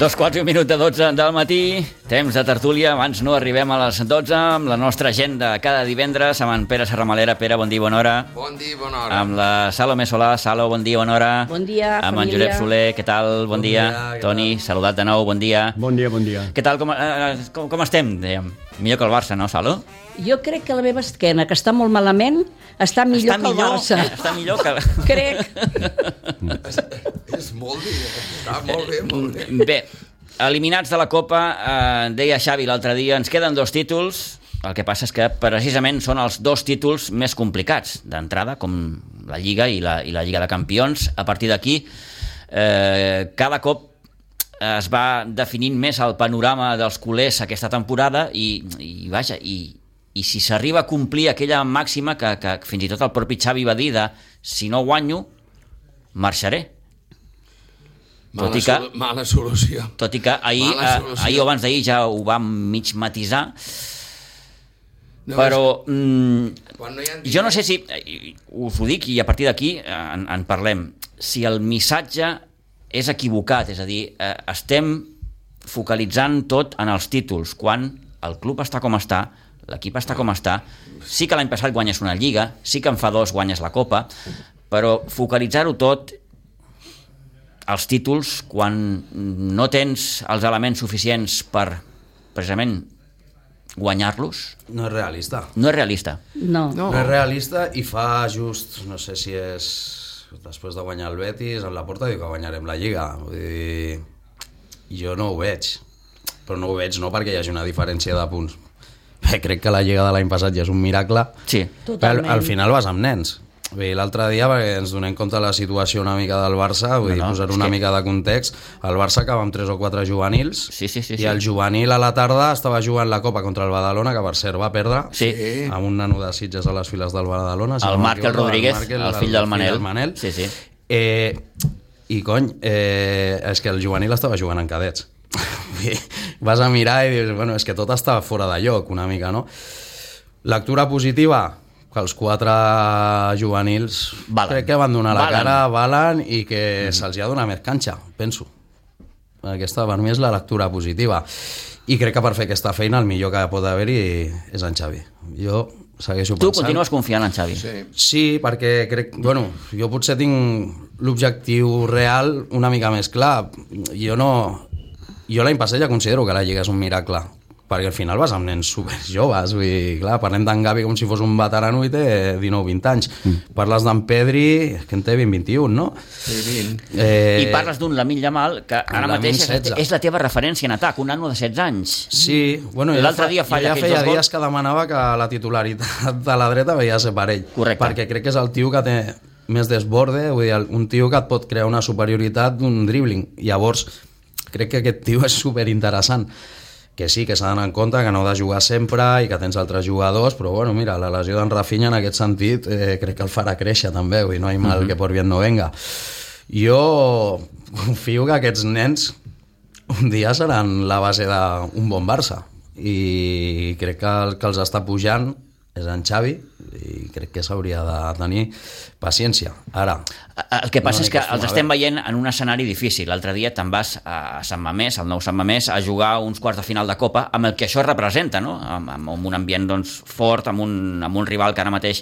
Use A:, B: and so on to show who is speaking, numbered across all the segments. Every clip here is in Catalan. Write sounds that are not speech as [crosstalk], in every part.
A: Dos quarts i un minut de 12 del matí, temps de tertúlia, abans no arribem a les 12, amb la nostra agenda cada divendres, amb en Pere Serramalera. Pere, bon dia, bona hora.
B: Bon dia, bona hora.
A: Amb la Salome Solà, Salo, bon dia, bona hora.
C: Bon dia,
A: Amb en
C: família.
A: Josep Soler, què tal, bon, bon dia.
B: dia, què
A: Toni, saludat de nou, bon dia.
D: Bon dia, bon dia.
A: Què tal, com, eh, com, com estem, dèiem? Millor que el Barça, no, Salo?
C: Jo crec que la meva esquena, que està molt malament, està
A: està
C: millor que el
A: millor,
C: Barça.
A: [laughs] Està millor que...
C: Crec.
A: Ah.
B: [laughs] És molt bé, eh? està molt bé, molt bé.
A: Bé, eliminats de la Copa, eh, deia Xavi l'altre dia, ens queden dos títols, el que passa és que precisament són els dos títols més complicats d'entrada, com la Lliga i la, i la Lliga de Campions. A partir d'aquí, eh, cada cop es va definint més el panorama dels culers aquesta temporada i, i vaja, i, i si s'arriba a complir aquella màxima que, que fins i tot el propi Xavi va dir de si no guanyo, marxaré. Tot
B: Mala,
A: i que-
B: solu- mala solució.
A: Tot i que ahir,
B: Mala
A: eh,
B: solució.
A: ahir o abans d'ahir ja ho vam mig matisar,
B: No,
A: però mm,
B: és- quan no hi ha
A: jo no sé si, eh, us ho dic i a partir d'aquí eh, en, en parlem, si el missatge és equivocat, és a dir, eh, estem focalitzant tot en els títols, quan el club està com està, l'equip està com està, sí que l'any passat guanyes una lliga, sí que en fa dos guanyes la copa, però focalitzar-ho tot els títols quan no tens els elements suficients per precisament guanyar-los
E: No és realista.
A: no és realista.
C: No.
E: No. no és realista i fa just, no sé si és després de guanyar el Betis, amb la porta diu que guanyarem la Lliga. Vull dir, jo no ho veig. Però no ho veig no perquè hi hagi una diferència de punts. Bé, crec que la Lliga de l'any passat ja és un miracle.
A: Sí.
C: Totalment.
E: Però Al, al final vas amb nens. Vull dir, L'altre dia, perquè ens donem compte de la situació una mica del Barça,
A: No,
E: vull no, dir,
A: no,
E: posar
A: és
E: una
A: que-
E: que... mica de context, el Barça acaba amb 3 o 4 juvenils,
A: Sí, sí, sí,
E: i
A: sí.
E: el juvenil a la tarda estava jugant la Copa contra el Badalona, que per cert va perdre,
A: Sí.
B: Sí.
E: amb un nano de Sitges a les files del Badalona.
A: El
E: no
A: Markel
E: m'equivoco,
A: Rodríguez, el fill del Manel.
E: del Manel.
A: Sí, sí.
E: Eh, I cony, eh, és que el juvenil estava jugant en cadets. [laughs] Vull dir, Vas a mirar i dius, bueno, és que tot està fora de lloc una mica, no? Lectura positiva, que els quatre juvenils
A: Valen.
E: crec que van donar la
A: Valen.
E: cara, valen i que mm. se'ls hi ha donat més canxa, penso. Aquesta per mi és la lectura positiva. I crec que per fer aquesta feina el millor que pot haver-hi és en Xavi. Jo segueixo
A: Tu
E: pensant...
A: continues confiant en Xavi. Sí.
B: eh,
E: Sí, perquè crec... Bueno, jo potser tinc l'objectiu real una mica més clar. Jo no... Jo l'any passat ja considero que la Lliga és un miracle, perquè al final vas amb nens super joves, vull dir, clar, parlem d'en Gavi com si fos un veterano i té 19-20 anys.
A: Mm.
E: Parles d'en Pedri, que en té 20-21, no?
B: Sí, vint.
E: Eh,
A: I parles d'un Lamin Yamal, que ara
E: Lamine
A: mateix és,
E: 16.
A: és la teva referència en atac, un nano de 16 anys.
E: Sí, bueno, jo
A: L'altre
E: fa-
A: dia falla
E: jo
A: aquells
E: ja feia
A: dos gols.
E: dies que demanava que la titularitat de la dreta veia ser per ell.
A: Correcte.
E: Perquè crec que és el tio que té més desborde, vull dir, el- un tio que et pot crear una superioritat d'un dribbling. Llavors, crec que aquest tio és superinteressant. Que sí, que s'ha d'anar en compte, que no ha de jugar sempre i que tens altres jugadors, però bueno, mira, la lesió d'en Rafinha en aquest sentit eh, crec que el farà créixer també, vull dir, no hi ha
A: Mhm.
E: mal que por bien no venga. Jo confio que aquests nens un dia seran la base d'un bon Barça i crec que el que els està pujant és en Xavi i crec que s'hauria de tenir paciència. Ara,
A: Eh, El que passa
E: No
A: és que
E: acostuma,
A: els estem veient en un escenari difícil. L'altre dia te'n vas a Sant Mamés, al nou Sant Mamés, a jugar uns quarts de final de Copa, amb el que això representa, no? Amb, amb, amb un ambient doncs, fort, amb un, amb un rival que ara mateix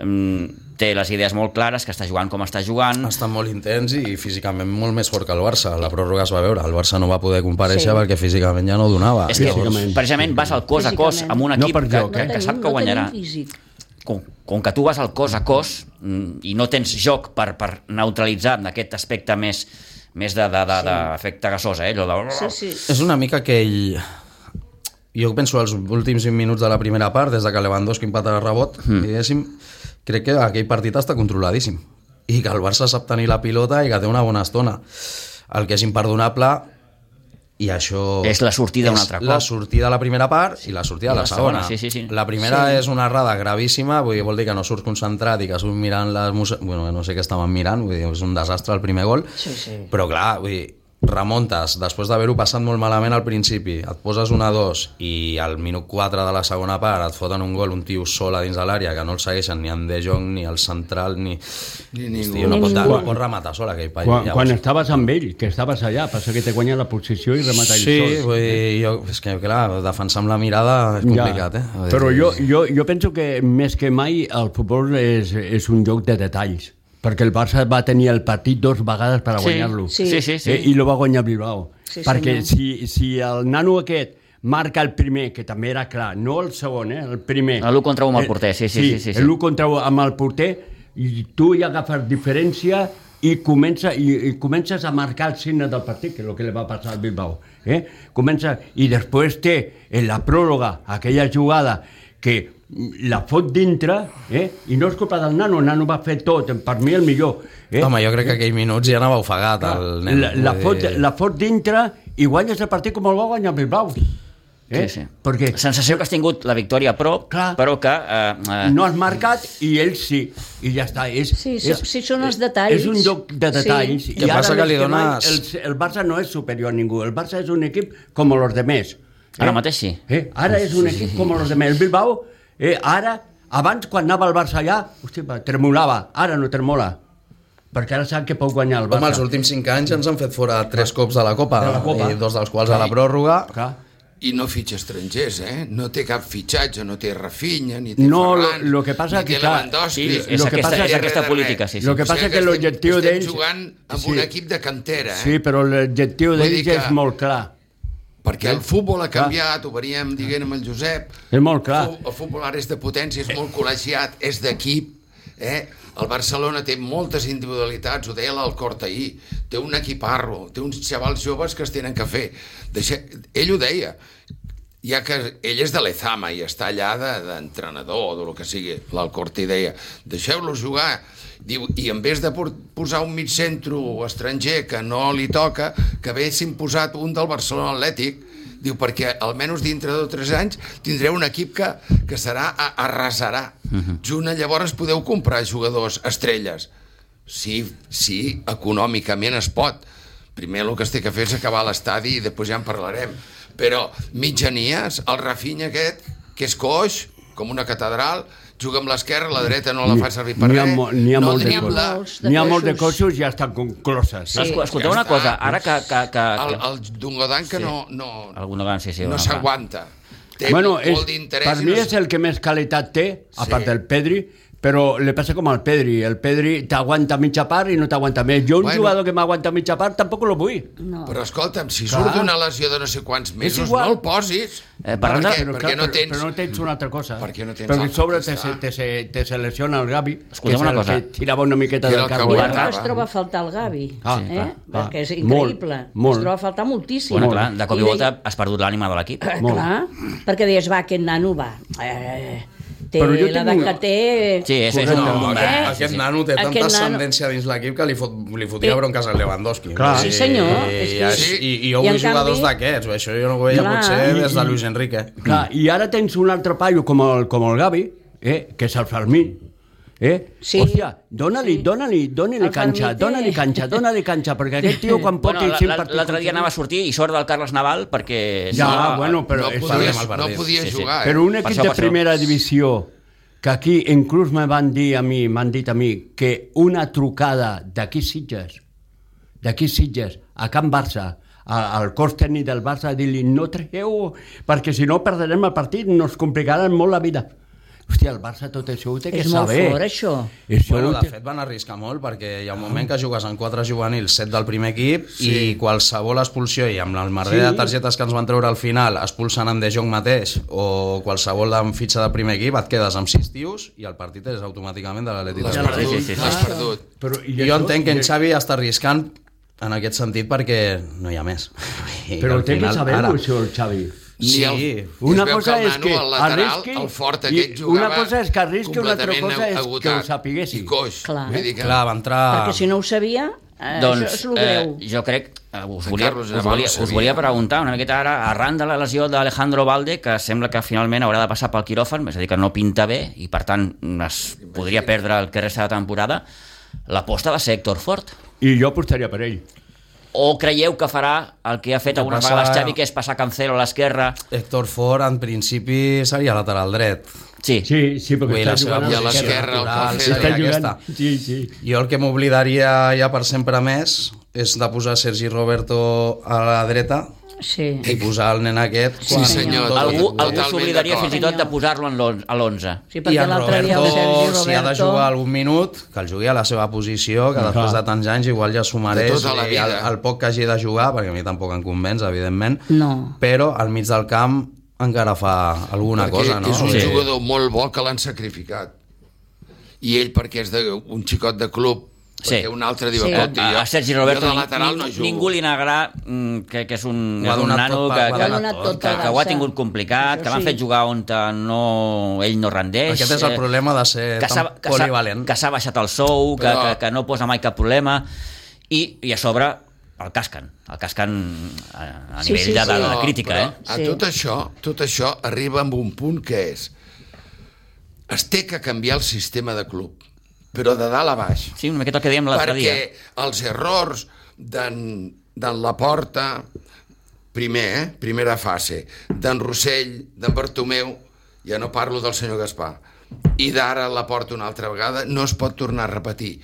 A: mm, té les idees molt clares, que està jugant com està jugant,
E: ha estat molt intens i físicament molt més fort que el Barça. La pròrroga es va veure, el Barça no va poder comparèixer
C: Sí.
E: sí. perquè físicament ja no donava.
A: És que
D: Físicament.
A: precisament vas al cos a cos
C: Físicament.
A: amb un
D: No
A: equip
D: per
A: que,
D: joc,
A: que,
D: eh?
A: que sap que
C: no
A: guanyarà.
C: Tenim físic.
A: Com, com que tu vas al cos a cos mm, i no tens joc per, per neutralitzar en aquest aspecte més, més de, de, de, d'efecte gasosa, eh? Allò de...
C: Sí, sí.
E: És una mica que ell... Jo penso els últims 20 minuts de la primera part, des de que Lewandowski empata el rebot,
A: Hmm.
E: mm. diguéssim, crec que aquell partit està controladíssim. I que el Barça sap tenir la pilota i que té una bona estona. El que és imperdonable, i això...
A: És la sortida un
E: és
A: altre
E: La
A: cop.
E: sortida de la primera part i la sortida
A: I
E: de la,
A: la segona,
E: segona.
A: sí, sí, sí.
E: La primera sí. és una errada gravíssima, vull dir, vol dir que no surts concentrat i que surts mirant les... Muse... Bueno, no sé què estaven mirant, vull dir, és un desastre el primer gol.
C: Sí, sí.
E: Però clar, vull dir, remontes, després d'haver-ho passat molt malament al principi, et poses una 2 i al minut 4 de la segona part et foten un gol un tio sol a dins de l'àrea que no el segueixen ni en De Jong, ni el central, ni...
B: Ni ningú.
E: Hòstia, no, pot,
C: ningú.
E: no pot rematar sol aquell paio.
D: Quan,
E: llavors.
D: quan estaves amb ell, que estaves allà, passa que te guanya la posició i remata ell
E: Sí,
D: sol.
E: vull dir, jo, és que clar, defensar amb la mirada és complicat, eh? Vull dir,
D: Però jo, jo, jo penso que més que mai el futbol és, és un joc de detalls, perquè el Barça va tenir el partit dos vegades per a guanyar-lo.
A: Sí, sí, sí. sí.
D: Eh, I lo va guanyar Bilbao.
C: Sí,
D: perquè
C: senyor.
D: si, si el nano aquest marca el primer, que també era clar, no el segon, eh, el primer.
A: L'u contra u amb el porter, sí, sí, sí, sí, sí.
D: L'1 contra u amb el porter, i tu ja agafes diferència i, comença, i, i comences a marcar el signe del partit, que és el que li va passar al Bilbao. Eh? Comença, I després té en la pròloga aquella jugada que la fot dintre eh? i no és culpa del nano, el nano va fer tot, per mi el millor. Eh?
E: Home, jo crec que aquell minuts ja anava ofegat el nen.
D: La, la,
E: vull
D: fot,
E: dir-
D: la fot dintre i guanyes el partit com el va guanyar el Bilbao. Eh?
A: Sí, sí.
D: Perquè
A: Sensació que has tingut la victòria a prop,
D: Clar.
A: però que... Eh, eh,
D: no has marcat i ell sí. I ja està. És,
C: Sí, so- sí, són els detalls.
D: És un joc de detalls.
C: Sí.
E: Que
D: ara
E: passa que
D: més
E: li dones-
D: mai, el, el Barça no és superior a ningú. El Barça és un equip com els demés.
A: Ara mateix sí.
D: Eh? Ara és un equip com els demés. El Bilbao, eh, ara, abans quan anava el Barça allà, hosti, va, tremolava. Ara no tremola. Perquè ara sap que pot guanyar el
E: Home,
D: Barça.
E: els últims 5 anys ens han fet fora 3 cops de la Copa,
D: De la Copa.
E: i dos dels quals a la pròrroga.
D: Clar.
B: I no fitxa estrangers, eh? No té cap fitxatge, no té Rafinha, ni té
D: No,
B: Ferran,
D: lo- lo que passa
B: ni
D: que,
B: té
D: clar,
B: Lewandowski.
A: sí, és
D: lo que
A: aquesta,
D: passa-
A: és aquesta
B: Res de
A: política,
B: res.
A: sí, sí.
D: Lo que passa que
B: estem-
D: l'objectiu
B: estem
D: d'ells...
B: jugant amb un equip de cantera, eh?
D: Sí, però l'objectiu
B: Vull dir
D: d'ells
B: que-
D: és molt clar.
B: Perquè el futbol ha canviat, ho veníem dient amb el Josep.
D: És molt clar.
B: El fu- El futbol ara és de potència, és molt col·legiat, és d'equip. Eh? El Barcelona té moltes individualitats, ho deia l'Alcorta ahir. Té un equiparro, té uns xavals joves que es tenen que fer. Deixa... Ell ho deia, ja que ell és de l'Ezama i està allà de- d'entrenador, de, del que sigui, l'Alcorta hi deia, deixeu-lo jugar, Diu, i en vez de por- posar un mig centro estranger que no li toca, que haguessin posat un del Barcelona Atlètic, diu, perquè almenys dintre de 3 anys tindreu un equip que, que serà, a, arrasarà. Uh -huh. Junt, llavors podeu comprar jugadors, estrelles. Sí, sí, econòmicament es pot. Primer el que es té que fer és acabar l'estadi i després ja en parlarem. Però mitjanies, el Rafinha aquest, que és coix, com una catedral, juga amb l'esquerra, la dreta no la fa servir per
D: N'hi ha,
B: res.
D: mo- n'hi ha
B: no
D: molt de
B: dribla.
C: coses.
D: coixos.
C: Molts de
D: N'hi ha molt de
C: coixos.
D: coixos i ja estan concloses.
A: Escu- Escolteu
B: Ja
A: una
B: està.
A: cosa, ara que... que, que,
B: El,
A: que
B: el Dungodan que no, no,
A: algun Dogan, sí, sí.
B: no
A: va, va.
B: s'aguanta. Té molt d'interès.
D: per
B: i
D: mi
B: no
D: és el que més qualitat té, a
B: Sí.
D: part del Pedri, però li passa com al Pedri. El Pedri t'aguanta mitja part i no t'aguanta més. Jo un
B: Bueno.
D: jugador que m'aguanta mitja part tampoc lo vull.
C: No.
B: Però escolta'm, si
D: Clar.
B: surt d'una lesió de no sé quants mesos,
D: igual.
B: no el posis.
A: Eh,
B: per
A: parlant de-
B: què?
A: Però
B: perquè no tens...
D: però, però no tens una altra cosa.
B: Perquè no tens
D: perquè a
B: altra
D: sobre
B: cosa.
D: te, se- te, se, te selecciona el Gavi,
A: Escolteu
D: que
A: una
D: és el
A: cosa.
D: que tirava una miqueta
B: Que
D: del
B: era el que
D: cap.
B: volia.
C: Mira
A: Clar,
C: que es
A: clar.
C: troba a faltar el Gavi,
D: Ah,
C: eh?
D: clar, clar.
C: perquè és
D: Molt,
C: increïble.
D: molt.
C: Es troba a faltar moltíssim.
A: Bueno, clar, de cop i volta
C: deia-
A: has perdut l'ànima de l'equip.
C: Eh,
D: Molt.
C: Clar, perquè deies, va, aquest nano va. Eh, té
D: Però
C: la
D: jo tinc
C: edat
D: una-
C: que té...
A: Sí, és, és un...
E: No,
A: Eh?
E: aquest,
A: Sí,
E: aquest
A: sí.
E: nano té
C: Aquest
E: tanta
C: nano-
E: ascendència dins l'equip que li, fot, li fotia
C: Té-
E: bronques al Lewandowski.
D: Clar.
E: I-
D: Sí,
C: senyor, és
E: I,
C: que-
E: i, i, i jo
C: I en
E: vull jugadors
C: canvi-
E: d'aquests. Això jo no ho veia
C: Clar.
E: potser des de Luis Enrique.
D: Clar, I ara tens un altre paio com el, com el Gavi, eh, que és el Fermín, Eh?
C: Sí.
D: Hòstia, dona-li, dona-li, dona-li
C: El
D: canxa,
C: Fermín té-
D: dona-li canxa, dona-li canxa,
C: [laughs]
D: perquè aquest tio quan pot...
A: Bueno,
D: i
A: la-
D: cinc
A: la-
D: partits
A: L'altre dia
D: consecutius-
A: anava a sortir i sort del Carles Naval perquè... si
D: Ja,
A: no,
D: bueno, però...
B: no
D: és-
B: podia,
E: Parlem al
B: no
E: Bardet.
B: podia
A: Sí, sí.
B: jugar. eh?
D: Però
E: eh,
D: un
A: Per
D: equip
A: això,
D: de
A: per això.
D: primera divisió que aquí inclús me van dir a mi, m'han dit a mi, que una trucada d'aquí Sitges, d'aquí Sitges, a Can Barça, a- al cos tècnic del Barça, a dir-li no treu, perquè si no perdrem el partit, nos complicaran molt la vida. Hòstia, el Barça tot això ho té que
C: És molt
D: saber.
C: fort, eh? això.
D: Això
E: Bueno,
D: ho
E: de
D: té-
E: fet van arriscar molt perquè hi ha un moment que jugues en quatre juvenils, set del primer equip sí. i qualsevol expulsió i amb el merder sí. de targetes que ens van treure al final expulsant en De Jong mateix o qualsevol amb fitxa de primer equip et quedes amb sis tios i el partit és automàticament de l'Atleti.
B: L'has
E: de Madrid.
B: perdut,
A: sí, sí, sí.
B: l'has perdut.
D: Ah, Però, i
E: Jo
D: això-
E: entenc que
D: i-
E: en Xavi està arriscant en aquest sentit perquè no hi ha més. [laughs] I
D: Però
E: al
D: ho té que
E: final,
D: saber,
E: ara-
D: això, el Xavi.
E: Sí.
D: Una
B: es veu
D: cosa
B: el
D: és
B: nano,
D: que
B: el lateral,
D: arrisqui
B: el fort
D: i
B: aquest jugava
D: una cosa és que arrisqui, una altra
B: completament
D: cosa és que ho
B: agotat
D: sapiguessi.
B: I coix.
C: Clar.
B: Vull dir que...
E: Clar, va entrar...
C: Perquè si no ho sabia, eh, doncs,
A: Doncs,
C: això és el greu.
A: eh, jo crec, eh, us volia,
B: Carlos
A: us,
B: Navarro
A: volia,
B: sabia.
A: us volia preguntar una miqueta ara, arran de la lesió d'Alejandro Valde, que sembla que finalment haurà de passar pel quiròfan, és a dir, que no pinta bé, i per tant es podria perdre el que resta de temporada, l'aposta va ser Héctor Fort.
D: I jo apostaria per ell.
A: o creieu que farà el que ha fet algunes
E: passar-
A: vegades Xavi, que és passar Cancelo a l'esquerra?
E: Héctor Ford, en principi, seria lateral dret.
A: Sí. sí.
D: Sí, sí, perquè
E: Ui,
D: està
E: la seva
D: jugant...
B: I a
E: posició
B: l'esquerra, el
E: natural
B: Cancelo.
E: seria
D: Està jugant...
E: aquesta.
D: Sí, sí.
E: Jo el que m'oblidaria ja per sempre més és de posar Sergi Roberto a la dreta
C: Sí.
E: i posar el nen aquest
C: Sí,
E: quan
B: senyor.
E: tot-
A: Algú,
B: Totalment
A: algú s'oblidaria
B: d'acord.
A: fins i tot de posar-lo en l'on- a l'11.
C: sí
E: I
C: perquè
E: el
C: l'altre dia el
E: Roberto,
C: Sergi Roberto...
E: si ha de jugar algun minut, que el jugui a la seva posició, que després de tants anys igual ja s'ho mereix,
B: Ah. tota la
E: i el,
B: vida.
E: el poc que hagi de jugar, perquè a mi tampoc em convenç, evidentment,
C: No.
E: però al mig del camp encara fa alguna
B: perquè
E: cosa, no?
B: És un
E: Sí.
B: jugador molt bo que l'han sacrificat. I ell, perquè és de, un xicot de club,
A: Sí.
B: perquè un altre diu...
C: Sí.
B: Sí.
A: Eh, A, a Sergi Roberto
B: jo de
A: ning-
B: lateral no
A: ning-
B: jugo.
A: ningú li negarà mm, que, que és un,
E: Ho ha
A: és un
E: donat
A: nano
E: tot
A: que,
E: per- ho ha
A: que,
E: donat
A: que,
E: tot
A: que,
C: per
A: ho ha
C: Barça.
A: tingut complicat,
C: Això
A: que l'han
C: sí.
A: fet jugar on te no, ell no rendeix.
E: Aquest és el
A: eh,
E: problema de ser
A: que s'ha
E: tan
A: que s'ha-
E: polivalent.
A: que s'ha baixat el sou, que,
B: Però-
A: que, que no posa mai cap problema, i, i a sobre el casquen, el casquen a, a
C: Sí,
A: nivell de,
C: sí,
A: de,
C: sí.
A: de
B: No,
A: crítica,
B: però
A: eh?
B: A
C: Sí.
B: tot això, tot això arriba amb un punt que és... Es té que canviar el sistema de club, però de dalt a baix.
A: Sí, una miqueta el que dèiem l'altre dia.
B: perquè els errors d'en d'en Laporta primer, eh? primera fase d'en Rossell, d'en Bartomeu ja no parlo del senyor Gaspar i d'ara la porta una altra vegada no es pot tornar a repetir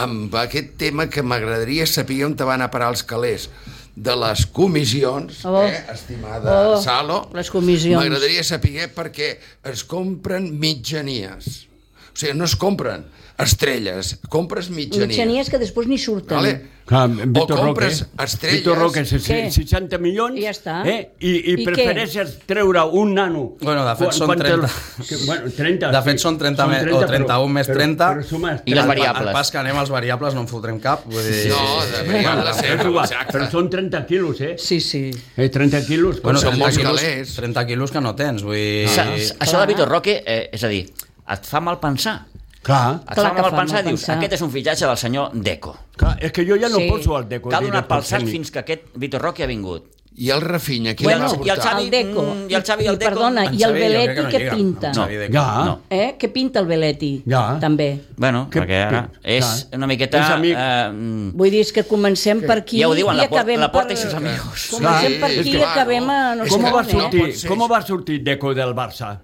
B: amb aquest tema que m'agradaria saber on te van a parar els calés de les comissions
C: Oh.
B: eh, estimada
C: Oh,
B: Salo
C: les comissions.
B: m'agradaria saber perquè es compren mitjanies o sigui, no es compren estrelles, compres mitjanies.
C: Mitjanies que després ni surten.
B: Vale?
D: Clar,
B: o
D: Vitor Ah, Roque,
B: compres estrelles.
D: Vitor Roque, ses-
C: Què?
D: 60 milions,
C: I ja està.
D: eh? I, i,
C: I
D: prefereixes treure un nano...
E: Bueno, de fet, són
D: quan- quan te'l-
E: 30.
D: Que, bueno, 30.
E: De fet,
D: sí.
E: són 30, me- o 31 més 30.
D: Però, però sumes
A: I les
E: El pa-
A: variables.
E: El pas que anem als variables no en fotrem cap. Vull dir,
B: No, de veritat, la
D: és
B: seva,
D: igual,
B: exacte.
D: però són 30 quilos, eh?
C: Sí, sí.
D: eh 30 quilos.
E: Bueno,
B: Són
E: 30
B: molts
E: quilos,
B: calés.
E: 30 quilos que no tens,
C: Ah,
E: vull dir...
A: Sa- sa- Això de
C: Clar.
A: Vitor Roque, eh, és a dir, et fa mal pensar.
D: clar,
A: Et
C: Clar
A: fa
C: que
A: mal
C: fa
A: pensar
C: mal
A: i dius,
C: pensar.
A: aquest és un fitxatge del senyor Deco.
D: clar, és que jo ja no
C: Sí.
D: poso el deco.
A: Cal
D: diré,
A: donar pel
D: per
A: sac
D: mi.
A: fins que aquest Vitor Roque ha vingut.
B: I el Rafinha, qui
A: Bueno,
B: bueno, va
A: i el
B: portar?
A: Xavi-
C: El Deco.
A: mm, i el Xavi, el Deco,
C: Perdona,
E: En
C: i el
E: Xavi jo crec
C: Beleti
E: que no
C: què
E: lliga,
C: pinta?
E: en Xavi
A: No.
E: Deco.
D: Ja.
E: No.
C: Eh? Què pinta el Beleti?
D: Ja.
C: També.
A: Bueno,
D: Que-
A: que, perquè ara
D: que-
A: és
D: clar.
A: una miqueta...
D: És amic.
A: Eh,
C: Vull dir, és que comencem per aquí
A: Ja ho diuen,
C: i
A: la por-
C: acabem
A: la porta
C: per-
A: i sus amigos.
C: Comencem
D: Clar,
C: per
D: és
C: aquí
D: que-
C: i acabem a...
B: És
C: sé
D: Com
B: que
C: on,
D: va
B: no
D: sortir,
B: pot ser.
D: com va sortir Deco del Barça?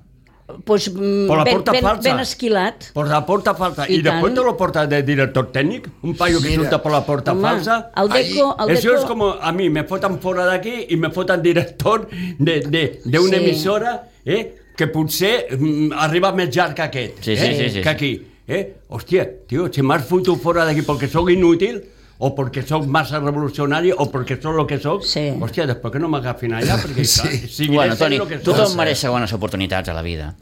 C: Pues, mm,
D: Por la
C: ben,
D: porta
C: ben,
D: falsa.
C: ben esquilat.
D: Por la porta falsa.
C: I
D: I, I després
C: tant.
D: te lo porta de director tècnic? Un paio que
B: Mira.
D: surta per la porta
C: Home,
D: falsa?
C: el Deco... El
D: Eso
C: Deco...
D: es como a mí, me fotan fora d'aquí i me fotan director de, de, de una
C: Sí.
D: emissora eh, que potser mm, arriba més llarg que aquest,
A: Sí,
D: eh,
A: sí, sí, sí, sí.
D: que aquí. Eh? Hòstia, tio, si m'has fotut fora d'aquí perquè sóc inútil, o perquè sóc massa revolucionari, o perquè sóc el que sóc,
C: Sí.
D: hòstia, després que no m'agafin allà, perquè
B: Sí.
D: sí.
A: sí,
D: sigui
A: bueno, Toni,
D: el que
A: tothom
D: sóc.
A: mereix segones oportunitats a la vida.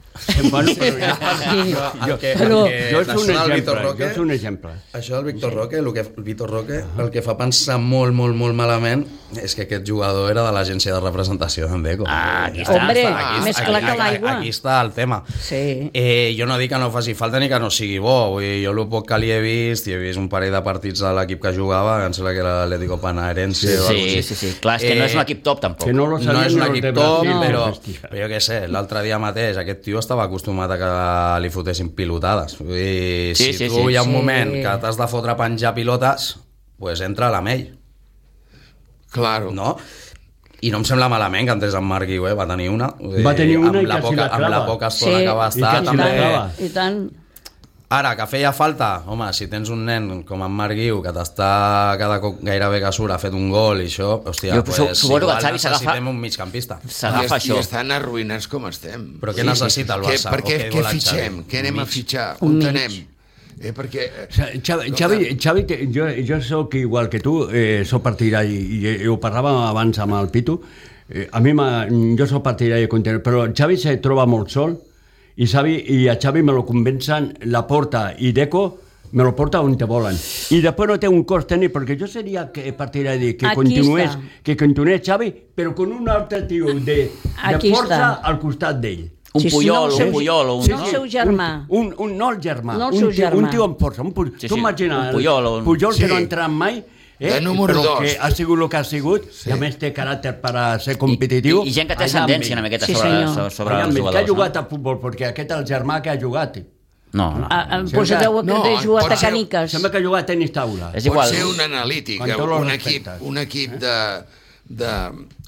D: Bueno, però ja,
C: Sí.
E: Jo, el que, el
C: Però-
E: que,
D: jo és un
E: això del Vitor
D: exemple,
E: Eh, Roque,
D: jo és un exemple.
E: Això del Víctor Roque, el, que, el Víctor Roque, el que fa pensar molt, molt, molt malament és que aquest jugador era de l'agència de representació d'en Deco.
A: Ah, aquí està.
C: Hombre,
B: aquí-
C: més clar que l'aigua.
E: Aquí està el tema.
C: Sí.
E: Eh, jo no dic que no faci falta ni que no sigui bo. Vull dir, jo el poc que li he vist, i he vist un parell de partits a l'equip que jugava, em sembla que era l'Atlético Panarense. o alguna cosa
A: Sí,
E: així.
A: sí, sí. Clar, és que no és un
E: Eh,
A: equip top, tampoc.
D: Que no lo
E: no
D: sabien
E: és un
D: los
E: equip
D: de
E: top,
D: Brasil.
E: però,
D: Hòstia.
E: però jo què sé, l'altre dia mateix aquest tio estava acostumat a que li fotessin pilotades. Vull dir,
A: Sí,
E: si
A: sí,
E: tu
A: sí.
E: hi ha un
C: Sí.
E: moment que t'has de fotre a penjar pilotes, pues entra a la mell,
B: Claro.
E: no? I no em sembla malament que entrés en Marc Guiu, eh? va tenir una. Vull dir,
D: Va tenir una
E: amb
D: i
E: la
D: quasi
E: poca,
D: la
E: Amb la
D: clava.
E: poca estona que va
C: I
E: estar,
D: quasi la
E: també...
D: clava.
C: I tant.
E: Ara, que feia falta, home, si tens un nen com en Marc Guiu, que t'està cada cop gairebé que surt, ha fet un gol i això, hòstia,
A: Jo
E: pues,
A: suposo que
E: igual
A: Xavi s'agafa-
E: necessitem un migcampista.
B: I,
A: S'agafa
B: es- I
A: això.
B: estan arruïnats com estem.
E: Però què necessita el
B: Que,
E: Barça?
B: per
E: O
B: què,
E: què
B: què
E: vol el Xavi?
B: fitxem? Què anem a
E: Mig.
B: fitxar?
C: Un
B: On
C: mig.
B: anem? Eh, perquè... eh,
D: Xa- Xavi, Xavi, Xavi té- jo, jo sóc igual que tu, eh, sóc partidari, i, i, ho parlàvem abans amb el Pitu, eh, a mi m'ha- jo sóc partidari de contenir, però Xavi se troba molt sol, i, Xavi, i a Xavi me lo convencen la porta i Deco, me lo porta on te volen. I després no té un cost tècnic, perquè jo seria que partidari que
C: Aquí
D: continués,
C: està.
D: que continués Xavi, però con un altre tio de, de
C: Aquí
D: força
C: està.
D: al costat d'ell.
A: Un
C: Sí, sí,
A: Puyol,
C: no,
A: un
C: sí.
A: Puyol, un...
C: Sí,
A: no?
C: sí. seu germà.
D: Un, un, un no el germà.
C: No el
D: un
C: seu
D: tio-
C: germà.
D: Un tio amb força. Un, pu-
A: Sí,
D: tu
A: sí,
D: imagina,
A: un
D: el
A: Puyol o un-
D: Puyol que
B: Sí.
D: no ha entrat mai, eh?
B: De número
D: però
B: dos.
D: que ha sigut el que ha sigut, sí. i a més té caràcter per a ser competitiu.
A: I, i, i gent que té
D: Allà amb
A: ascendència
D: ell.
A: una miqueta
C: Sí,
A: sobre,
C: senyor.
A: sobre, sobre
D: Allà amb
A: els
D: ell, que ha
A: jugadors.
D: jugat
A: No?
D: a futbol, perquè aquest és el germà que ha jugat.
A: No, no.
C: Ah, ah, Doncs deu
B: No,
C: haver jugat
B: pot
C: a
B: ser-
C: caniques.
D: Sembla que jugar a tenis taula.
A: És
B: pot
A: igual.
B: ser un analític, eh?
D: Con todos los
B: un equip,
D: respectes.
B: un equip de, de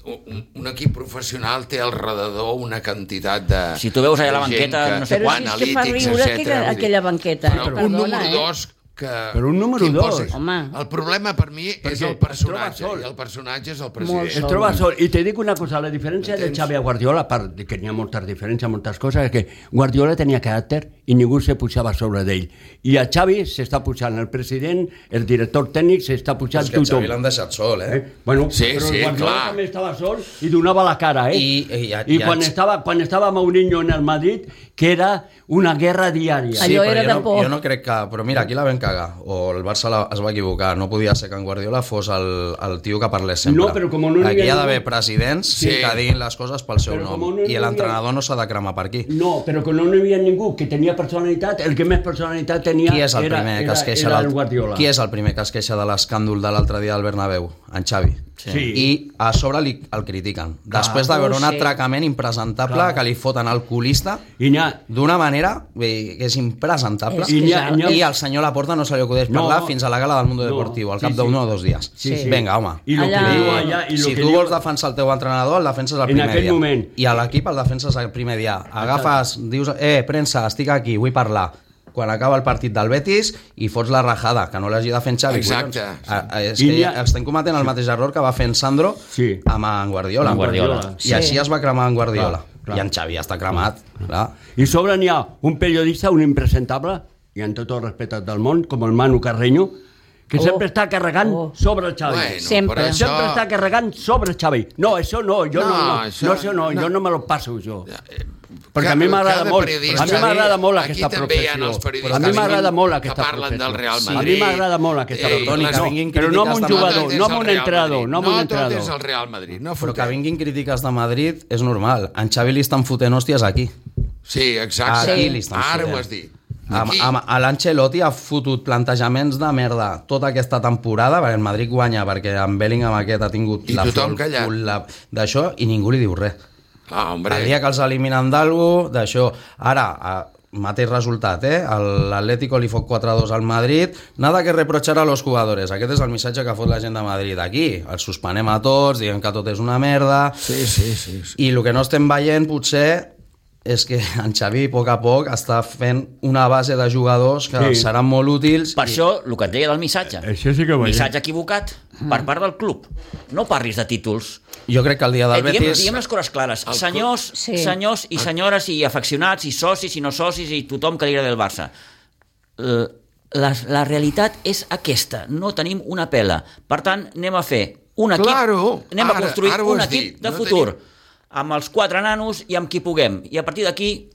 B: un, un equip professional té al redador una quantitat de...
A: Si tu veus allà la
B: de gent
A: banqueta,
B: que-
A: no sé Però
B: o
C: si és que fa
B: analítics,
C: riure
B: etcètera, vull
C: aquella-
B: dir.
C: aquella banqueta, eh?
B: Però un
C: Perdona,
B: número
C: eh?
B: 2 que...
D: Però un número
B: que
D: dos.
B: imposis.
C: Home.
B: El problema per mi és
D: Perquè
B: el
D: es
B: personatge,
D: troba sol.
B: i el personatge és el
C: Molt
D: Es
B: president.
C: sol.
D: troba sol. I te dic una cosa, la diferència de
B: Entens?
D: Xavi a Guardiola, a part de que n'hi ha moltes diferències, moltes coses, és que Guardiola tenia caràcter i ningú se pujava sobre d'ell. I a Xavi s'està pujant el president, el director tècnic, s'està pujant
E: És que el
D: tothom.
E: Xavi l'han deixat sol, eh?
D: Eh? Bueno,
B: Sí,
D: però
B: sí,
D: el Guardiola
B: clar.
D: també estava sol i donava la cara, eh?
E: I- i ja-
D: I
E: ja
D: quan,
E: ens-
D: estava, quan estava Mourinho en el Madrid, que era una guerra diària.
C: Allò
E: però
C: era
E: jo
C: de
E: no,
C: por.
E: Jo no crec que... Però mira, aquí la vam cagar. O el Barça la, es va equivocar. No podia ser que en Guardiola fos el, el tio que parlés sempre.
D: No, però com no n'hi
E: Aquí hi
D: havia
E: ha d'haver
D: ningú-
E: presidents
B: Sí.
E: sí. que diguin les coses pel seu
D: Però com
E: nom.
D: no n'hi
E: I
D: havia-
E: l'entrenador no s'ha de cremar per aquí.
D: No, però que no n'hi havia ningú que tenia personalitat, el que més personalitat tenia
E: Qui és el
D: era,
E: primer
D: era,
E: que es queixa
D: era
E: l'alt-
D: el Guardiola.
E: Qui és el primer que es queixa de l'escàndol de l'altre dia al Bernabéu? En Xavi.
D: Sí. Sí.
E: I a sobre li, el critiquen. Després de
C: no
E: veure un
C: ho sé.
E: atracament impresentable
D: Clar.
E: que li foten al culista
D: I n'hi ha,
E: d'una manera vull dir, que és impresentable.
C: És que I n'hi ha-
D: ja- n'hi ha-
E: I al senyor Laporta no se li acudeix
D: No.
E: parlar fins a la gala del Mundo
D: No.
E: Deportivo, al
D: Sí,
E: cap
D: sí.
E: d'un o dos dies.
D: Sí, sí.
E: Vinga, home.
D: I lo que
C: Allà-
D: diu allà... I lo
E: si
D: que
E: tu
D: diu...
E: vols defensar el teu entrenador, el defenses el
D: En
E: primer
D: aquell
E: dia.
D: moment.
E: I a l'equip el defenses el primer dia. Agafes, dius, eh, premsa, estic aquí, vull parlar. Quan acaba el partit del Betis i fots la rajada, que no l'hagi de fer en Xavi.
B: Exacte.
E: collons. A- a- És
D: I
E: que
D: n'hi ha-
E: estem cometent el mateix error que va fer en Sandro
D: Sí.
E: amb en Guardiola.
A: Amb Guardiola.
E: I així es va cremar en Guardiola.
D: Clar, clar.
E: I en Xavi ja està cremat. Clar.
D: I sobre n'hi ha un periodista, un impresentable, i en tot el respecte del món, com el Manu Carreño, que
C: Oh.
D: sempre està carregant
C: Oh.
D: sobre el Xavi.
B: Bueno,
C: Sempre.
B: però això...
D: Sempre està carregant sobre el Xavi. No, això no, jo no, no,
B: No,
D: no,
B: això-
D: no, això no,
B: no.
D: jo no me lo passo, jo. Perquè
B: Cada-
D: a mi m'agrada
B: cada
D: molt,
B: periodista-
D: a mi m'agrada molt aquesta
B: Aquí també hi ha
D: professió.
B: els periodistes
D: A mi m'agrada molt
B: que
D: aquesta
B: parlen
D: professió.
B: del Real
D: Sí. A mi
B: Madrid. Eh,
D: m'agrada molt aquesta
B: Ei,
E: Toni,
B: les-
E: que
D: No,
E: vinguin
D: però no amb un
E: crítiques de
D: jugador,
B: tot
D: no
B: és
D: amb
B: el
D: un
B: Real
D: entrenador,
B: Madrid.
D: no amb un
B: No tot és
D: entrenador.
B: el Real Madrid, no
E: Però
B: fotem.
E: que vinguin crítiques de Madrid és normal. En Xavi li estan fotent hòsties aquí.
B: Sí, exacte.
E: Aquí li estan
B: Ara
E: fotent.
B: ho has dit.
E: Amb,
B: Aquí.
E: amb, a l'Ancelotti ha fotut plantejaments de merda tota aquesta temporada, perquè el Madrid guanya, perquè en Bellingham aquest ha tingut
B: I tothom
E: al
B: callat.
E: cul, la- d'això, i ningú li diu res.
B: Ah, hombre.
E: El dia que els eliminen d'algú, d'això... Ara, a, mateix resultat, eh? El- L'Atlético li fot 4-2 al Madrid. Nada que reprochar a los jugadores. Aquest és el missatge que fot la gent de Madrid aquí. Els suspenem a tots, diguem que tot és una merda...
B: Sí, sí, sí. sí.
E: I el que no estem veient potser és que [laughs] en Xavi a poc a poc està fent una base de jugadors que
D: Sí.
E: sí. seran molt útils
A: Per això, el que et deia del missatge.
D: Eh, això sí que ho veiem.
A: missatge equivocat per part del club. No parlis de títols.
E: jo crec que el dia
A: Eh,
E: del
A: diguem,
E: Betis
A: diguem les coses clares.
B: club-
A: Senyors,
C: Sí.
A: senyors i senyores i afeccionats i socis i no socis i tothom que li agrada el Barça. Eh, La, la realitat és aquesta. No tenim una pela. Per tant, anem a fer un equip...
B: Claro,
A: anem a
B: ara-
A: construir
B: ara ho
A: un
B: has
A: equip
B: dit,
A: de
B: no
A: futur.
B: tenim-
A: Amb els quatre nanos i amb qui puguem. I a partir d'aquí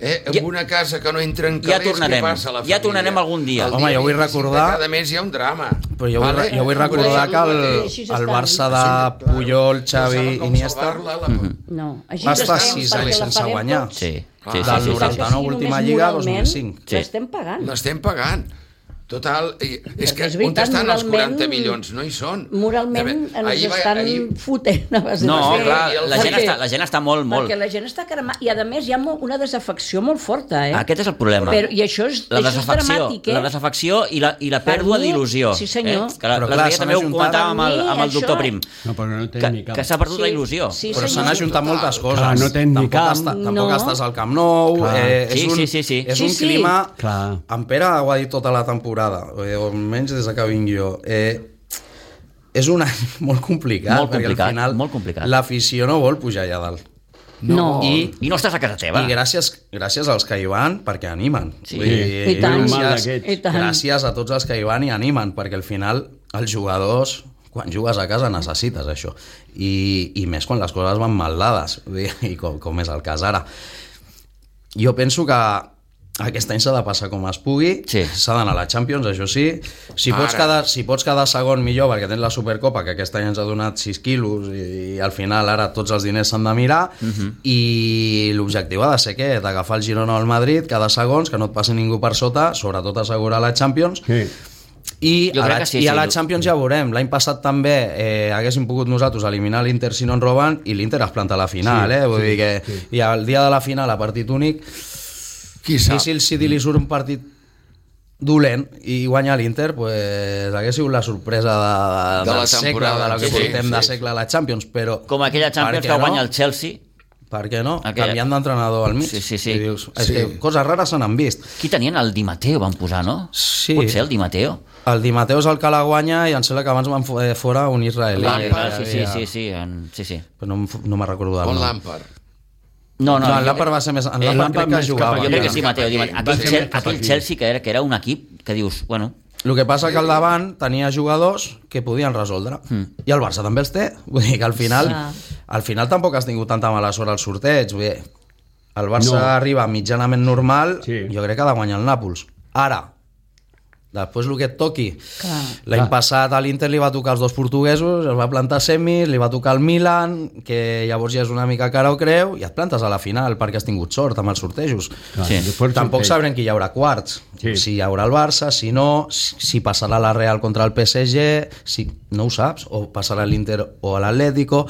B: Eh, en
A: Ja-
B: una casa que no entra en
A: Ja
B: calés,
A: tornarem.
B: què passa a la
A: Ja
B: família?
A: tornarem algun dia.
B: El
E: Home, jo vull
B: 25 de
E: recordar-
B: Cada mes hi ha un drama.
E: però jo vull, jo vull recordar que el, el Barça de Puyol, Xavi, Iniesta
D: Mhm.
C: No, així
E: va
C: que
E: estar
C: estem,
E: 6
C: perquè
E: anys
C: la
E: sense
C: paguem
E: guanyar
C: tots.
A: Sí,
B: Ah,
A: sí, sí,
E: del
A: sí, sí.
E: 90. 99 última lliga, 2005.
A: Sí.
C: L'estem pagant.
B: L'estem pagant. Total, i- és que
C: És
B: on
C: veritat,
B: estan els 40
C: moralment-
B: milions? No hi són.
C: Moralment
B: De-
C: ens
B: ahir va-
C: estan
B: ahir-
C: fotent a base
A: No,
B: Sí,
C: de...
A: clar,
B: i el-
A: la gent,
C: Perquè-
A: està, la gent està molt, molt...
C: Perquè la gent està cremant. I, a més, hi ha mo- una desafecció molt forta, eh?
A: Aquest és el problema.
C: Però, I això és,
A: la
C: això és
A: desafecció,
C: dramàtic, eh?
A: la desafecció i la, i la
C: Per
A: pèrdua
C: mi,
A: d'il·lusió.
C: sí, senyor.
A: Eh? Que la,
E: Però clar,
A: l'altre dia
E: s'han
A: també ho
E: ajuntat-
A: comentàvem amb el,
C: Per mi,
A: amb el doctor
C: això-
A: Prim,
D: No, però no té
A: que,
D: ni cap.
A: que s'ha perdut
C: Sí,
A: la il·lusió.
C: sí,
E: però s'han
C: senyor.
B: Total.
E: ajuntat moltes coses.
D: Clar, Ah, no tens ni
E: tampoc,
D: cap.
E: està, tampoc
C: No.
E: estàs al Camp Nou.
D: Clar.
E: Eh, és
A: Sí,
E: un,
A: sí, sí, sí.
E: És
C: Sí,
E: un
C: sí.
E: clima...
D: Clar.
E: En Pere ho ha dit tota la temporada, eh, o almenys des que vinc jo. Eh, és un any [laughs] molt complicat.
A: Molt
E: perquè
A: complicat,
E: al final
A: molt complicat.
E: L'afició no vol pujar allà dalt.
C: No.
E: I,
A: I no estàs a casa teva.
E: i gràcies, gràcies als que hi van perquè animen.
A: Sí.
E: Vull dir,
D: I
C: tant.
D: Normal
E: Gràcies,
D: d'aquests.
C: I tant.
E: gràcies a tots els que hi van i animen, perquè al final els jugadors quan jugues a casa necessites això i, i més quan les coses van mal dades Vull dir, i com, com és el cas ara jo penso que aquest any s'ha de passar com es pugui
A: Sí.
E: s'ha d'anar a la Champions, això sí si pots,
B: Ara.
E: quedar, si pots quedar segon millor perquè tens la Supercopa que aquest any ens ha donat 6 quilos i, i al final ara tots els diners s'han de mirar
A: Mhm.
E: i l'objectiu ha de ser què? d'agafar el Girona o el Madrid cada segons, que no et passi ningú per sota sobretot assegurar la Champions
D: Sí.
E: i
A: Jo
E: a,
A: crec
E: la,
A: que sí,
E: i a
A: sí,
E: la
A: jo-
E: Champions ja ho veurem. L'any passat també eh, haguéssim pogut nosaltres eliminar l'Inter si no en roben i l'Inter es planta a la final, sí, eh? Vull sí, dir que... Sí. I el dia de la final, a partit únic,
B: Qui sap?
E: I si el City li surt un partit dolent i guanya l'Inter, pues, hagués sigut la sorpresa de, de,
B: De la
E: del segle,
B: temporada.
E: de la que
B: Sí, sí,
E: portem de
B: sí.
E: segle a la Champions, però...
A: Com aquella
E: per
A: Champions
E: què
A: que guanya
E: no?
A: el Chelsea.
E: Per què no?
A: Aquella.
E: Canviant d'entrenador al mig.
A: Sí, sí, sí.
E: I dius, és
B: Sí.
E: que coses rares se n'han vist.
A: Qui tenien? El Di Matteo van posar, no?
E: Sí.
A: Pot ser el Di Matteo.
E: El Di Matteo és el que la guanya i em sembla que abans van fo- eh, fora un israelí.
A: Vale,
B: Lampard,
A: vale, sí, sí, sí, sí, en... sí, sí.
E: Però no, em f- no me'n recordo del
B: O
E: nom.
B: Lampard.
A: No, no,
E: No, no, en
A: jo crec-
E: Lampard va ser més... En
D: Eh,
E: Lampard
D: Lampard
E: crec que
D: més cap
E: jugava.
A: jo crec que sí,
B: cap
A: Mateo. Di
B: aquí,
A: Matteo. Aquell,
B: va ser
A: Chel-
D: cap
A: aquell
D: aquí.
A: Chelsea que era, que era un equip que dius, bueno,
E: El que passa que al davant tenia jugadors que podien resoldre. Mm. I el Barça també els té. [laughs] Vull dir que al final,
C: Sí.
E: al final tampoc has tingut tanta mala sort al sorteig. Vull dir, el Barça
D: No.
E: no. arriba mitjanament normal,
D: Sí.
E: sí. jo crec que ha de guanyar el Nàpols. Ara, després el que et toqui.
C: Clar.
D: Ah.
E: L'any passat a l'Inter li va tocar els dos portuguesos, es va plantar semis, li va tocar el Milan, que llavors ja és una mica cara o creu, i et plantes a la final perquè has tingut sort amb els sortejos.
D: Clar,
A: Sí.
D: després
E: Tampoc
D: sorteig.
E: sabrem qui hi haurà quarts.
D: Sí.
E: Sí. Si hi haurà el Barça, si no, si si passarà la Real contra el PSG, si no ho saps, o passarà l'Inter o l'Atlético.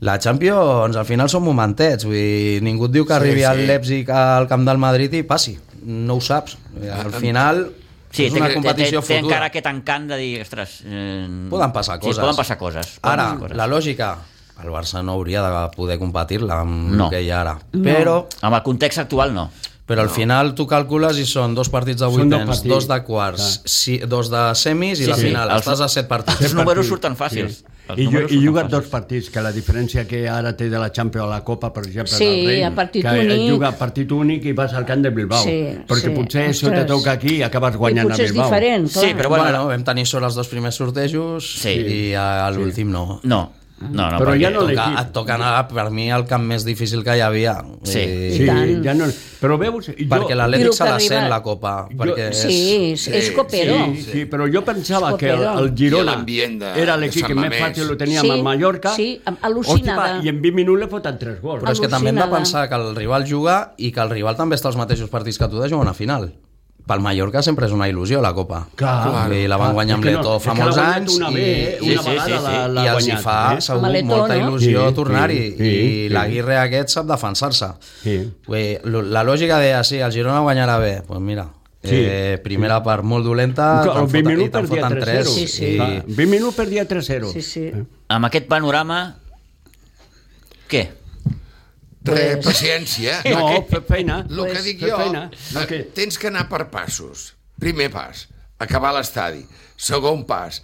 E: La Champions, al final són momentets, vull dir, ningú et diu que
B: Sí,
E: arribi
B: sí.
E: al Leipzig al camp del Madrid i passi, no ho saps. Al final
A: Ah, Sí,
E: és
A: té,
E: una
A: té, té,
E: competició
A: té
E: futura. Mm.
A: encara aquest encant de dir, ostres... Eh,
E: Poden passar coses.
A: Sí, poden passar coses. Poden
E: Ara,
A: passar coses.
E: la lògica, el Barça no hauria de poder competir-la amb
A: No.
E: el que hi ha ara. Però...
A: Amb el context actual, no.
E: Però al final tu calcules i són dos partits de
D: Són dos
E: vuitens, dos,
D: partits.
E: dos de quarts, si, dos de semis i
A: Sí,
E: la
A: sí.
E: final.
A: Els-
E: Estàs a set partits.
A: Els números surten fàcils. Els
D: I, ju
A: números
D: i
A: surten
D: juga
A: fàcils.
D: dos partits, que la diferència que ara té de la Champions a la Copa, per exemple,
C: Sí,
D: del Rei,
C: a partit
D: que
C: únic.
D: juga a partit únic i vas al camp de Bilbao.
C: Sí,
D: perquè
C: sí.
D: potser això te
C: Ostres.
D: toca aquí i acabes
C: I
D: guanyant a
C: potser és
D: Bilbao.
C: diferent, clar.
A: Sí, però
E: Bueno,
A: bueno...
E: bueno, vam tenir sort els dos primers sortejos
A: Sí.
E: i a l'últim no.
A: No, no, no.
D: Però
A: perquè-
D: ja no
E: Toca,
D: l'equip.
E: et toca anar, per mi, el camp més difícil que hi havia.
A: Sí.
E: I-
D: Sí,
C: I tant.
D: ja no... Però veus... Jo,
E: Perquè
C: Diu
E: l'Atlètic
C: que
E: se la
C: arriba-
E: sent, la Copa. Perquè és...
C: Sí, és, és
B: sí,
C: copero.
D: Sí, sí, però jo pensava que el,
C: Escopero.
D: el Girona
B: I l'ambient de-
D: era
B: de
D: l'equip
B: Sant
D: que més
B: Mamés.
D: fàcil ho teníem
C: Sí,
D: al Mallorca.
C: sí, am- al·lucinada.
D: Hosti, va, I en 20 minuts li foten 3 gols.
E: Però és que també hem de
C: Al·lucinada.
E: pensar que el rival juga i que el rival també està als mateixos partits que tu de jugar una final. Pel Mallorca sempre és una il·lusió, la Copa.
D: Clar.
E: I la van guanyar amb
D: És que no,
E: Leto
D: és
E: fa
D: que l'ha
E: molts
D: guanyat
E: anys
D: una
E: i,
D: ve, eh?
E: i,
D: Una
A: sí,
D: vegada
A: sí,
D: la-
A: sí.
D: la
E: i els hi
D: guanyat,
E: fa
D: eh?
E: segur
C: Amb Leto,
E: molta
C: no?
E: il·lusió
D: Sí,
E: tornar-hi.
D: sí, sí,
E: I
D: sí.
E: l'Aguirre aquest sap defensar-se.
D: Sí.
E: Vull dir, lo- La lògica de, ah, sí, el Girona guanyarà bé, doncs pues mira,
D: Sí.
E: eh, primera part molt dolenta,
D: Clar,
E: te'n
D: en 20
E: foten- Ah, i
D: minuts
E: te'n
D: perdia
E: foten
D: 3-0.
E: tres.
C: Sí, sí.
E: I-
D: Clar, en 20 minuts perdia 3-0.
C: Sí, sí.
A: Amb aquest panorama... Què?
B: Tre, paciència.
D: No,
B: Aquest-
D: fe- feina.
B: El que dic
D: fe-
B: jo,
D: feina. El que-
B: eh, tens que anar per passos. Primer pas, acabar l'estadi. Segon pas,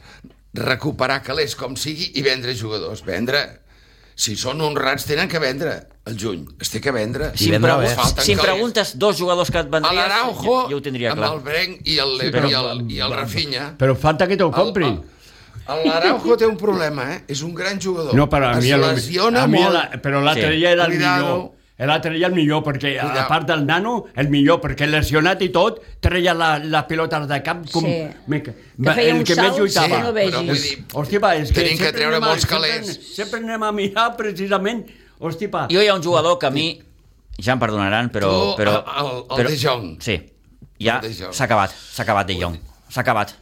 B: recuperar calés com sigui i vendre jugadors. Vendre. Si són honrats, tenen que vendre. El juny es té que vendre.
E: I
A: Si em,
E: vendre
A: pregun-
D: eh?
E: bé.
B: Falten
A: si em
B: calés.
A: preguntes dos jugadors que et
B: A
A: vendries,
B: l'Araujo,
A: jo, jo ho tindria
B: amb
A: clar.
B: el Brenc i el,
A: però-
B: i el, i el Rafinha.
D: Però falta que te'l comprin.
B: L'Araujo té un problema, eh? És un gran jugador.
D: No, però a mi...
B: es
D: el-
B: lesiona
D: a mi
B: molt.
D: la, però l'altre
A: Sí.
D: dia era el
B: Cuidado.
D: millor. L'altre dia el millor, perquè a
B: Cuidado.
D: part del nano, el millor, perquè lesionat i tot, treia la, les pilotes de cap com...
C: Sí.
D: Me,
C: Que feia
D: el
C: uns
D: que més
C: salts
D: lluitava.
C: que no vegis.
B: Però vull dir,
D: Hosti, va, és que
B: Tenim que
D: sempre
B: treure
D: anem a-
B: molts calés.
D: Sempre, sempre anem a mirar precisament... Hosti, pa,
A: Jo hi ha un jugador que a mi... Ja em perdonaran, però...
B: Tu,
A: però
B: el- el- el
A: però-
B: De Jong.
A: Sí. Ja
B: El De Jong.
A: s'ha acabat, s'ha acabat De Jong. S'ha acabat.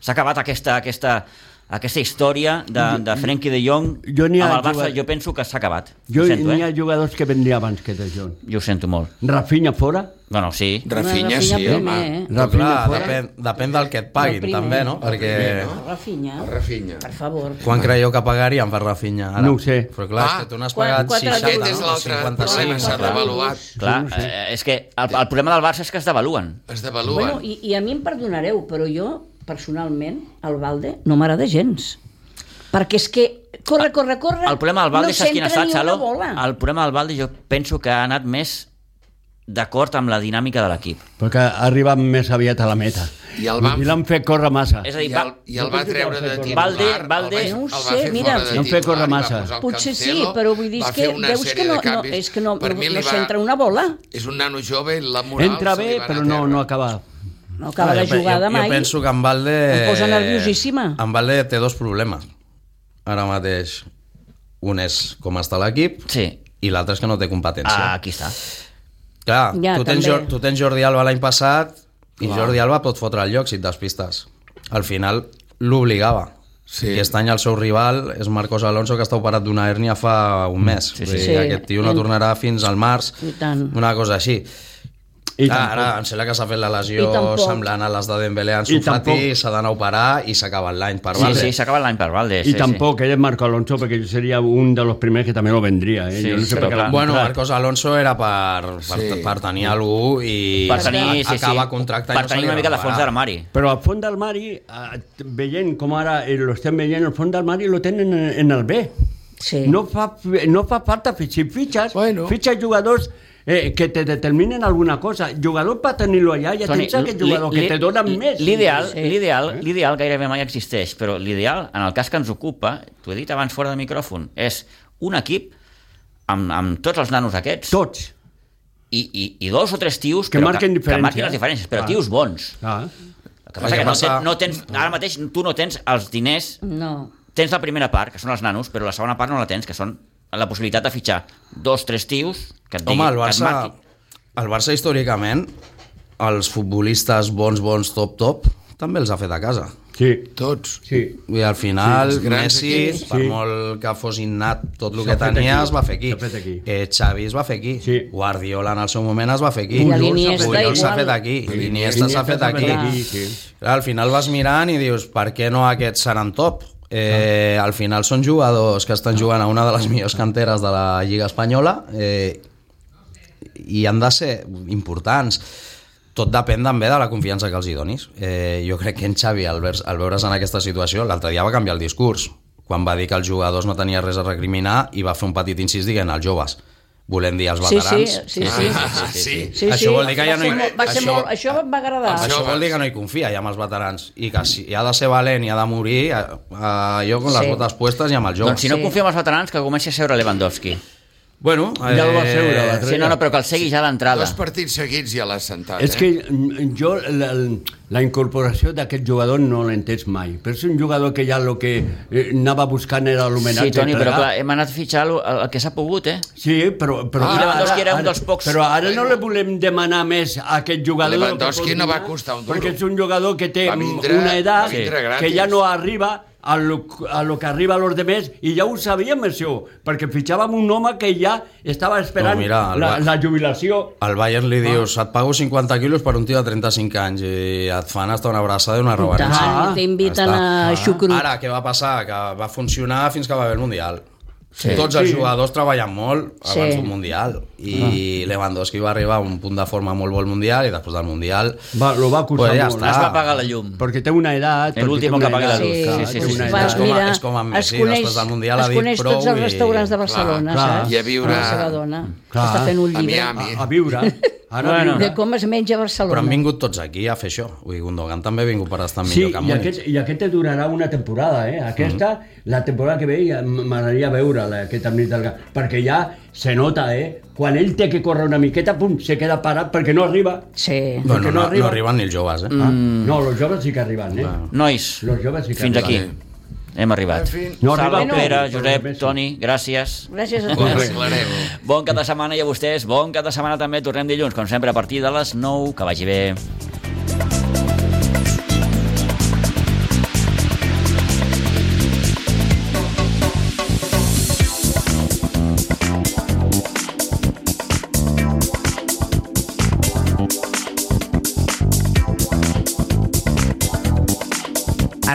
A: S'ha acabat aquesta, aquesta, aquesta història de, de Frenkie De Jong
D: Jo n'hi ha
A: amb el Barça.
D: jugat-
A: Jo penso que s'ha acabat.
D: jo
A: ho sento,
D: n'hi ha
A: eh?
D: jugadors que vendria abans que De Jong.
A: Jo ho sento molt.
D: Rafinha fora?
A: Bueno, sí.
B: Rafinha,
C: Rafinha
B: sí, home.
C: primer, eh?
E: Però
D: Rafinha
E: clar,
D: fora?
E: depèn, depèn del que et
C: El
E: paguin,
C: primer.
E: també, no?
C: El
E: Perquè...
C: Rafinha,
B: El Rafinha.
C: per favor.
E: Quan creieu que pagarien per Rafinha? Ara?
D: No ho sé.
E: Però clar,
B: Ah.
E: és que tu n'has
C: Quan-
E: pagat
C: quatre
E: 60,
B: Aquest
C: euros.
B: és
E: no?
B: l'altre
E: 56,
B: problema, s'ha
E: clar.
B: devaluat.
A: Clar, eh, és que el, el problema del Barça és que es devaluen.
B: Es
C: Bueno,
B: devaluen.
C: i, I a mi em perdonareu, però jo, personalment, el Valde no m'agrada gens. Perquè és que corre, corre, corre...
A: El problema del Valde,
C: no
A: saps quin ha
C: centra
A: estat,
C: ni una
A: Xalo?
C: bola.
A: El problema del Valde jo penso que ha anat més d'acord amb la dinàmica de l'equip.
D: Perquè ha arribat més aviat a la meta.
B: I el van-
D: I l'han fet córrer massa.
E: Ah,
A: És a
B: I
A: dir,
B: el,
A: va,
B: I el va treure de titular.
A: Valde- Valde-
B: el va,
C: No ho
B: el va
C: sé,
B: fer
C: mira.
B: fora de
D: No em
B: titular.
D: fa córrer
B: i va
D: massa.
B: posar el
C: Potser sí,
B: Cancelo,
C: però vull dir
B: va
C: és que
B: fer una
C: veus
B: sèrie
C: que no,
B: de
C: no,
B: canvis.
C: és que no,
B: Per
C: no,
B: mi li
C: no
B: va-
C: s'entra una bola.
B: És un nano jove, la moral
D: Entra
B: se li
D: bé,
B: va anar
D: però
B: a
D: no,
B: terra.
D: no acaba.
C: No acaba de
E: jo-
C: jugar
E: jo,
C: de mai.
E: Jo penso que en Valde...
C: Em posa nerviosíssima.
E: En Valde té dos problemes. Ara mateix, un és com està l'equip
A: sí,
E: i l'altre és que no té
A: ah,
E: competència.
A: aquí està.
E: Clar,
C: Ja,
E: tu, tens,
C: també.
E: Jor- tu tens Jordi Alba l'any passat i Jordi Alba pot fotre el lloc si et despistes. Al final l'obligava.
B: Sí.
E: Sí. Aquest any el seu rival és Marcos Alonso, que està operat d'una hèrnia fa un mes. Sí,
A: Mm. sí.
E: sí, sí.
C: Sí.
E: Aquest tio no tornarà fins al març,
C: I tant.
E: una cosa així.
D: I
E: Clar,
D: tampoc-
E: ara em sembla que s'ha fet la
C: I
E: lesió
C: tampoc.
E: semblant a les de Dembélé en
D: I
E: Sufati,
D: tampoc.
E: s'ha d'anar a operar i s'ha acabat l'any per
A: Sí,
E: Valde.
A: sí, s'ha acabat l'any per Valde.
D: Y
A: sí,
D: tampoco eres Marco Alonso, porque yo sería uno de los primeros que también lo vendría. ¿eh?
A: Sí,
D: yo no sé
A: pero
D: por qué lo
A: claro.
D: han
E: Bueno,
D: comprado.
E: Marcos Alonso era per, per,
B: Sí.
E: per tenir algú i
A: Sí. Per tenir,
E: a-
A: sí, sí.
E: acaba contracte i
A: per
E: no se
A: tenir
E: li
A: una mica de
E: renovarà.
A: fons d'armari.
D: Pero a fondo del mari, a- veient com ara eh, lo estem veient, el fons del mari lo tenen en, en el B.
C: Sí.
D: No, fa, no fa falta, fi- si fitxes,
B: Bueno.
D: bueno. fitxes jugadors eh, que te determinen alguna cosa. Jugador per tenir-lo allà, ja
A: Toni,
D: tens aquest jugador
A: li-
D: que te donen
A: li-
D: més.
A: L'ideal,
C: Sí.
A: l'ideal, l'ideal gairebé mai existeix, però l'ideal, en el cas que ens ocupa, t'ho he dit abans fora de micròfon, és un equip amb, amb tots els nanos aquests
D: Tots.
A: i, i, i dos o tres tios
D: Que
A: però
D: marquen
A: que, que
D: diferències.
A: marquin les diferències, però
D: Ah.
A: tios bons.
D: Ah.
A: El que passa que no,
E: passa-
A: ten, no tens, ara mateix tu no tens els diners,
C: No.
A: tens la primera part, que són els nanos, però la segona part no la tens, que són la possibilitat de fitxar dos, tres tios que et diguin,
E: Home, el
A: que
E: Barça,
A: et marquin.
E: el Barça històricament, els futbolistes bons, bons, top, top, també els ha fet a casa.
D: Sí,
B: Tots.
D: sí.
E: I al
B: Sí,
E: final,
B: els
E: sí,
B: grans
E: Messi,
B: equips.
E: per
D: Sí.
E: molt que fos innat tot el
D: S'ha
E: que
D: fet
E: tenia,
D: aquí,
E: es va fer aquí.
D: s'ha fet aquí.
E: Eh, Xavi es va fer aquí.
D: Sí.
E: Guardiola en el seu moment es va fer aquí.
C: I
D: Puyol
C: l'Iniesta
E: Puyol s'ha
C: igual.
E: fet aquí. L'Iniesta s'ha fet aquí.
C: aquí,
D: sí.
E: Clar, al final vas mirant i dius, per què no aquests seran top? Eh, al final són jugadors que estan jugant a una de les millors canteres de la Lliga Espanyola eh, i han de ser importants. Tot depèn també de la confiança que els hi donis. Eh, jo crec que en Xavi, al, vers, al veure's en aquesta situació, l'altre dia va canviar el discurs, quan va dir que els jugadors no tenia res a recriminar i va fer un petit incís dient als joves, volem dir als
C: Sí, sí,
E: veterans.
C: sí, sí.
B: Ah, sí.
C: sí,
E: Això
C: sí.
E: vol dir que
C: Va
E: ja no
C: ser
E: hi-
C: molt- Va ser
E: això-
C: molt... Això m'agradar.
B: Això-
E: Això vol dir que no hi confia ja amb els veterans i que si ha de ser valent i ha de morir eh, eh, jo amb les
C: Sí.
E: botes puestes i amb els joves.
A: Doncs si no
C: Sí.
A: confiem en els veterans, que comenci a seure Lewandowski.
E: Bueno, eh,
D: Ja el va seure, l'altre
A: Sí, no, no, però que el segui ja d'entrada.
B: Dos partits seguits ja l'has sentat,
D: És
B: eh?
D: que mm, jo la, la incorporació d'aquest jugador no l'he entès mai, però és un jugador que ja el que eh, anava buscant era l'homenatge.
A: Sí, Toni, però
D: plegat.
A: clar, eh, hem anat a fitxar el, el que s'ha pogut, eh?
D: Sí, però... però
A: Ah, I Lewandowski era un dels pocs.
D: Però ara no li volem demanar més a aquest jugador... del que
B: Lewandowski
D: pot
B: no va
D: donar,
B: costar un duro.
D: Perquè és un jugador que té
B: Va vindre-
D: una
B: va
D: edat
B: vindre
D: que
B: gratis.
D: ja no arriba a lo, a lo que arriba a los demés i ja ho sabíem això, perquè fitxàvem un home que ja estava esperant
E: No, mira, el
D: la,
E: va-
D: la jubilació
E: Al Bayern
D: Ah.
E: li dius, et pago 50 quilos per un tio de 35 anys i et fan hasta una abraçada i una
C: I tant,
E: robarissa.
D: Ah,
C: i t'inviten a
E: està.
C: xucrut.
E: Ara, què va passar? Que va funcionar fins que va haver el Mundial.
A: Sí.
E: Sí. Tots els
D: Sí.
E: jugadors treballen molt abans
C: Sí.
E: sí. d'un Mundial. I
D: Ah.
E: Lewandowski va arribar a un punt de forma molt bo al Mundial i després del Mundial...
D: va, lo va acusar
E: Pues ja
D: molt. eh?
E: està.
A: Es va apagar la llum.
D: Mm. Perquè té una edat...
A: El
D: perquè
A: último
D: té una
A: que apague la
D: edat,
A: luz.
D: clar,
A: Sí, sí,
D: té
A: sí,
D: una
A: sí.
D: edat.
E: És
C: Vas,
E: com a-
C: mira,
E: és com amb
C: es
E: Messi,
C: coneix,
E: després del Mundial ha
C: es
E: dit
C: coneix
E: prou
C: tots els
E: i-
C: restaurants de Barcelona,
D: Clar,
C: saps?
B: i a viure-
C: Amb la seva dona.
D: Clar.
C: Està fent un
B: A
C: llibre
B: Miami.
D: a, a viure. Ara
A: eh. Bueno.
D: viure.
C: de com es menja a
E: Però
C: Barcelona.
E: han vingut tots aquí a fer això. Vull dir, Gundogan també ha vingut per estar
D: Sí,
E: millor que
D: i
E: Múnich.
D: aquest, i aquest et durarà una temporada,
A: Mm.
D: eh? Aquesta, la temporada que ve, ja m- m'agradaria veure-la, aquesta nit del Gat, perquè ja se nota, eh? Quan ell té que córrer una miqueta, pum, se queda parat perquè no arriba.
C: Sí.
E: No, no,
D: Perquè
E: no,
D: no
E: no,
D: arriba.
E: arriben ni els joves, eh?
D: Ah, No, els joves sí que arriben, eh?
A: Nois,
D: Los joves sí que
A: Mm. fins aquí.
D: arriben.
A: Hem
B: En
A: arribat.
B: fi,
D: No
A: Salva,
D: arriba
C: Bueno.
A: Pere,
D: però
A: Josep,
D: més sí.
A: Toni, gràcies.
C: Gràcies a
B: ho
C: tots.
B: arreglarem.
A: Bon cap de setmana i a vostès, bon cap de setmana també. Tornem dilluns, com sempre, a partir de les 9. Que vagi bé.
F: A